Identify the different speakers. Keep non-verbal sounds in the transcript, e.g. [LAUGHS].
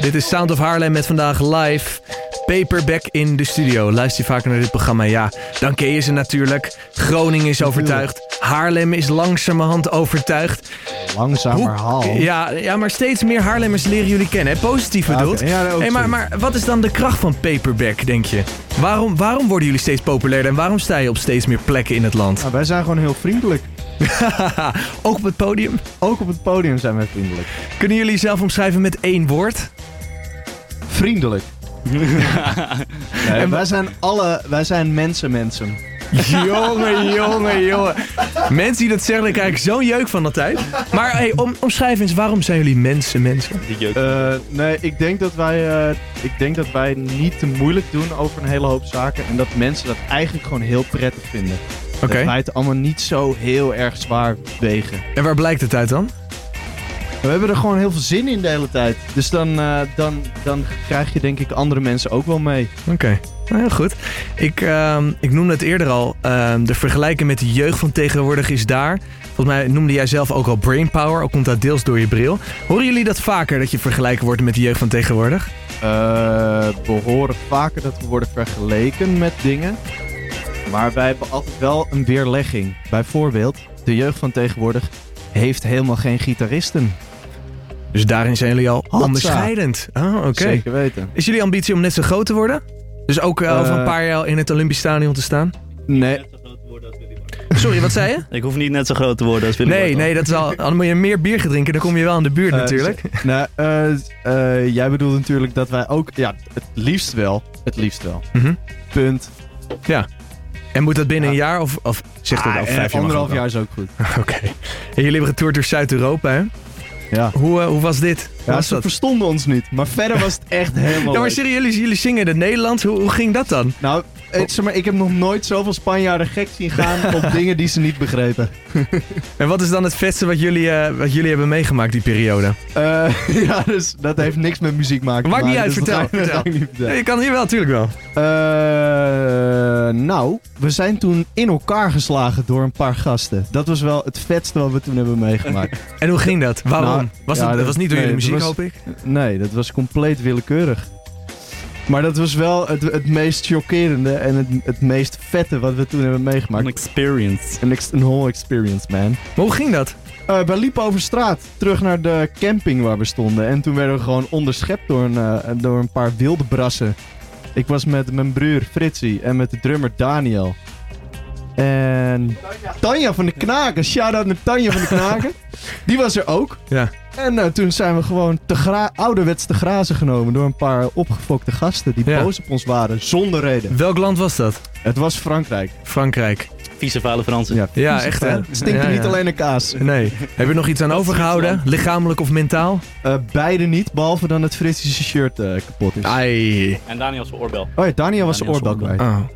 Speaker 1: Dit is Sound of Haarlem met vandaag live Paperback in de studio. Luister je vaker naar dit programma? Ja, dan ken je ze natuurlijk. Groningen is overtuigd. Haarlem is langzamerhand overtuigd.
Speaker 2: Langzamerhand.
Speaker 1: Ja, ja, maar steeds meer Haarlemmers leren jullie kennen. Hè? Positief
Speaker 2: Ja,
Speaker 1: bedoeld.
Speaker 2: oké. Ja, dat ook
Speaker 1: Hey, maar,
Speaker 2: zo.
Speaker 1: maar wat is dan de kracht van Paperback, denk je? Waarom, waarom worden jullie steeds populairder en waarom sta je op steeds meer plekken in het land?
Speaker 2: Nou, wij zijn gewoon heel vriendelijk.
Speaker 1: Ah, Ook op het podium?
Speaker 2: Ook op het podium zijn wij vriendelijk.
Speaker 1: Kunnen jullie zelf omschrijven met één woord?
Speaker 2: [LAUGHS] Vriendelijk. Nee,
Speaker 1: En wa-
Speaker 2: wij zijn alle, wij zijn mensen, mensen.
Speaker 1: Jongen, jongen, jongen. Mensen die dat zeggen, daar krijg ik zo'n jeuk van altijd. Maar hey, om, omschrijf eens, waarom zijn jullie mensen, mensen?
Speaker 3: Die jeuk.
Speaker 2: Eh, nee, ik denk, dat wij, eh, ik denk dat wij niet te moeilijk doen over een hele hoop zaken. En dat mensen dat eigenlijk gewoon heel prettig vinden.
Speaker 1: Oké,
Speaker 2: Dat wij het allemaal niet zo heel erg zwaar wegen.
Speaker 1: en waar blijkt het uit dan?
Speaker 2: We hebben er gewoon heel veel zin in de hele tijd. Dus dan, eh, dan, dan krijg je denk ik andere mensen ook wel mee.
Speaker 1: Oké, nou heel goed. Ik, ehm, ik noemde het eerder al, ehm, de vergelijking met de jeugd van tegenwoordig is daar. Volgens mij noemde jij zelf ook al brainpower, al komt dat deels door je bril. Horen jullie dat vaker, dat je vergelijken wordt met de jeugd van tegenwoordig?
Speaker 2: Eh, we horen vaker dat we worden vergeleken met dingen. Maar wij hebben altijd wel een weerlegging. Bijvoorbeeld, de jeugd van tegenwoordig heeft helemaal geen gitaristen.
Speaker 1: Dus daarin zijn jullie al
Speaker 2: Hatsa.
Speaker 1: onderscheidend. Oh, oké.
Speaker 2: Zeker weten.
Speaker 1: Is jullie ambitie om net zo groot te worden? Dus ook eh, over een
Speaker 2: Eh.
Speaker 1: paar jaar in het Olympisch Stadion te staan? Eh,
Speaker 2: Nee,
Speaker 1: Sorry, wat zei je?
Speaker 3: Ik hoef niet net zo groot te worden als Willem
Speaker 1: Nee,
Speaker 3: Bartel.
Speaker 1: nee, dat is al. Dan moet je meer bier gaan drinken, dan kom je wel aan de buurt
Speaker 2: Eh,
Speaker 1: natuurlijk.
Speaker 2: nou, eh, eh, jij bedoelt natuurlijk dat wij ook... Ja, het liefst wel. Het liefst wel.
Speaker 1: Mhm.
Speaker 2: Punt.
Speaker 1: En moet dat binnen een jaar of, of zegt dat
Speaker 2: Ah,
Speaker 1: al
Speaker 2: eh,
Speaker 1: vijf jaar? mag
Speaker 2: Anderhalf
Speaker 1: ook al.
Speaker 2: jaar is ook
Speaker 1: [LAUGHS]
Speaker 2: goed.
Speaker 1: Oké. En jullie hebben getoerd door Zuid-Europa, hè?
Speaker 2: Ja.
Speaker 1: Hoe, eh, hoe was dit? Hoe
Speaker 2: Ja,
Speaker 1: was
Speaker 2: ze
Speaker 1: dat?
Speaker 2: verstonden ons niet. Maar verder was het
Speaker 1: [LAUGHS]
Speaker 2: echt helemaal
Speaker 1: Ja, maar
Speaker 2: leuk.
Speaker 1: serieus, jullie, jullie zingen in het Nederlands. Hoe, hoe ging dat dan?
Speaker 2: Nou,
Speaker 1: Oh.
Speaker 2: eh, zeg maar, ik heb nog nooit zoveel Spanjaarden gek zien gaan
Speaker 1: [LAUGHS]
Speaker 2: op dingen die ze niet begrepen.
Speaker 1: En wat is dan het vetste wat jullie, eh, wat jullie hebben meegemaakt die periode?
Speaker 2: Eh, [LAUGHS] ja, dus dat heeft niks met muziek maken.
Speaker 1: Maakt
Speaker 2: te
Speaker 1: niet
Speaker 2: maken,
Speaker 1: uit,
Speaker 2: dus dat
Speaker 1: vertel,
Speaker 2: ga
Speaker 1: vertel.
Speaker 2: ik- [LAUGHS] dat ga ik niet vertellen.
Speaker 1: Ik kan hier wel, natuurlijk wel.
Speaker 2: Eh, nou, we zijn toen in elkaar geslagen door een paar gasten. Dat was wel het vetste wat we toen hebben
Speaker 1: [LAUGHS]
Speaker 2: meegemaakt.
Speaker 1: En hoe ging dat? Waarom?
Speaker 2: Nou,
Speaker 1: was
Speaker 2: ja,
Speaker 1: dat, dat
Speaker 2: dat-
Speaker 1: was niet door
Speaker 2: nee,
Speaker 1: jullie muziek,
Speaker 2: dat was-
Speaker 1: hoop ik.
Speaker 2: Nee, dat was compleet willekeurig. Maar dat was wel het, het meest chockerende en het, het meest vette wat we toen hebben
Speaker 3: Een
Speaker 2: meegemaakt.
Speaker 3: experience.
Speaker 2: Een, ex- een whole experience, man.
Speaker 1: Maar hoe ging dat?
Speaker 2: Eh, wij liepen over straat terug naar de camping waar we stonden. En toen werden we gewoon onderschept door een, eh, door een paar wilde brassen. Ik was met mijn broer Fritsie en met de drummer Daniel. En Tanja van de Knaken. Shout-out naar Tanja van de
Speaker 1: [LAUGHS]
Speaker 2: Knaken. Die was er ook.
Speaker 1: Ja.
Speaker 2: En eh, toen zijn we gewoon te gra- ouderwets te grazen genomen door een paar opgefokte gasten die
Speaker 1: Ja.
Speaker 2: boos op ons waren. Zonder reden.
Speaker 1: Welk land was dat?
Speaker 2: Het was Frankrijk.
Speaker 1: Frankrijk.
Speaker 3: Vieze vuile Fransen.
Speaker 1: Ja, echt, hè?
Speaker 2: Het stinkt
Speaker 1: Ja,
Speaker 2: niet
Speaker 1: ja.
Speaker 2: alleen naar kaas.
Speaker 1: Nee. Heb je nog iets aan overgehouden? Lichamelijk of mentaal?
Speaker 2: Eh, beide niet, behalve dan het Fritsische shirt eh, kapot is.
Speaker 1: Ai.
Speaker 3: En Daniel zijn oorbel.
Speaker 2: Oh ja, Daniel was
Speaker 3: Ah,
Speaker 2: zijn
Speaker 3: Daniel
Speaker 2: oorbel
Speaker 3: is oorbel.
Speaker 2: kwijt.
Speaker 1: Oh.